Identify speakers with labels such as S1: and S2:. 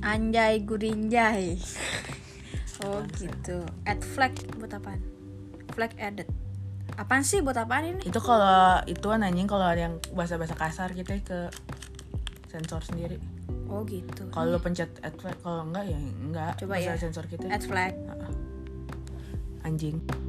S1: Anjay gurinjay. Oh gitu. Add flag buat apaan? Flag added. Apaan sih buat apaan ini?
S2: itu kalau itu anjing kalau ada yang bahasa-bahasa kasar kita ke sensor sendiri
S1: Oh gitu.
S2: kalau lu pencet add flag kalau enggak ya enggak
S1: Coba ya.
S2: Bisa sensor kita
S1: Add flag.
S2: anjing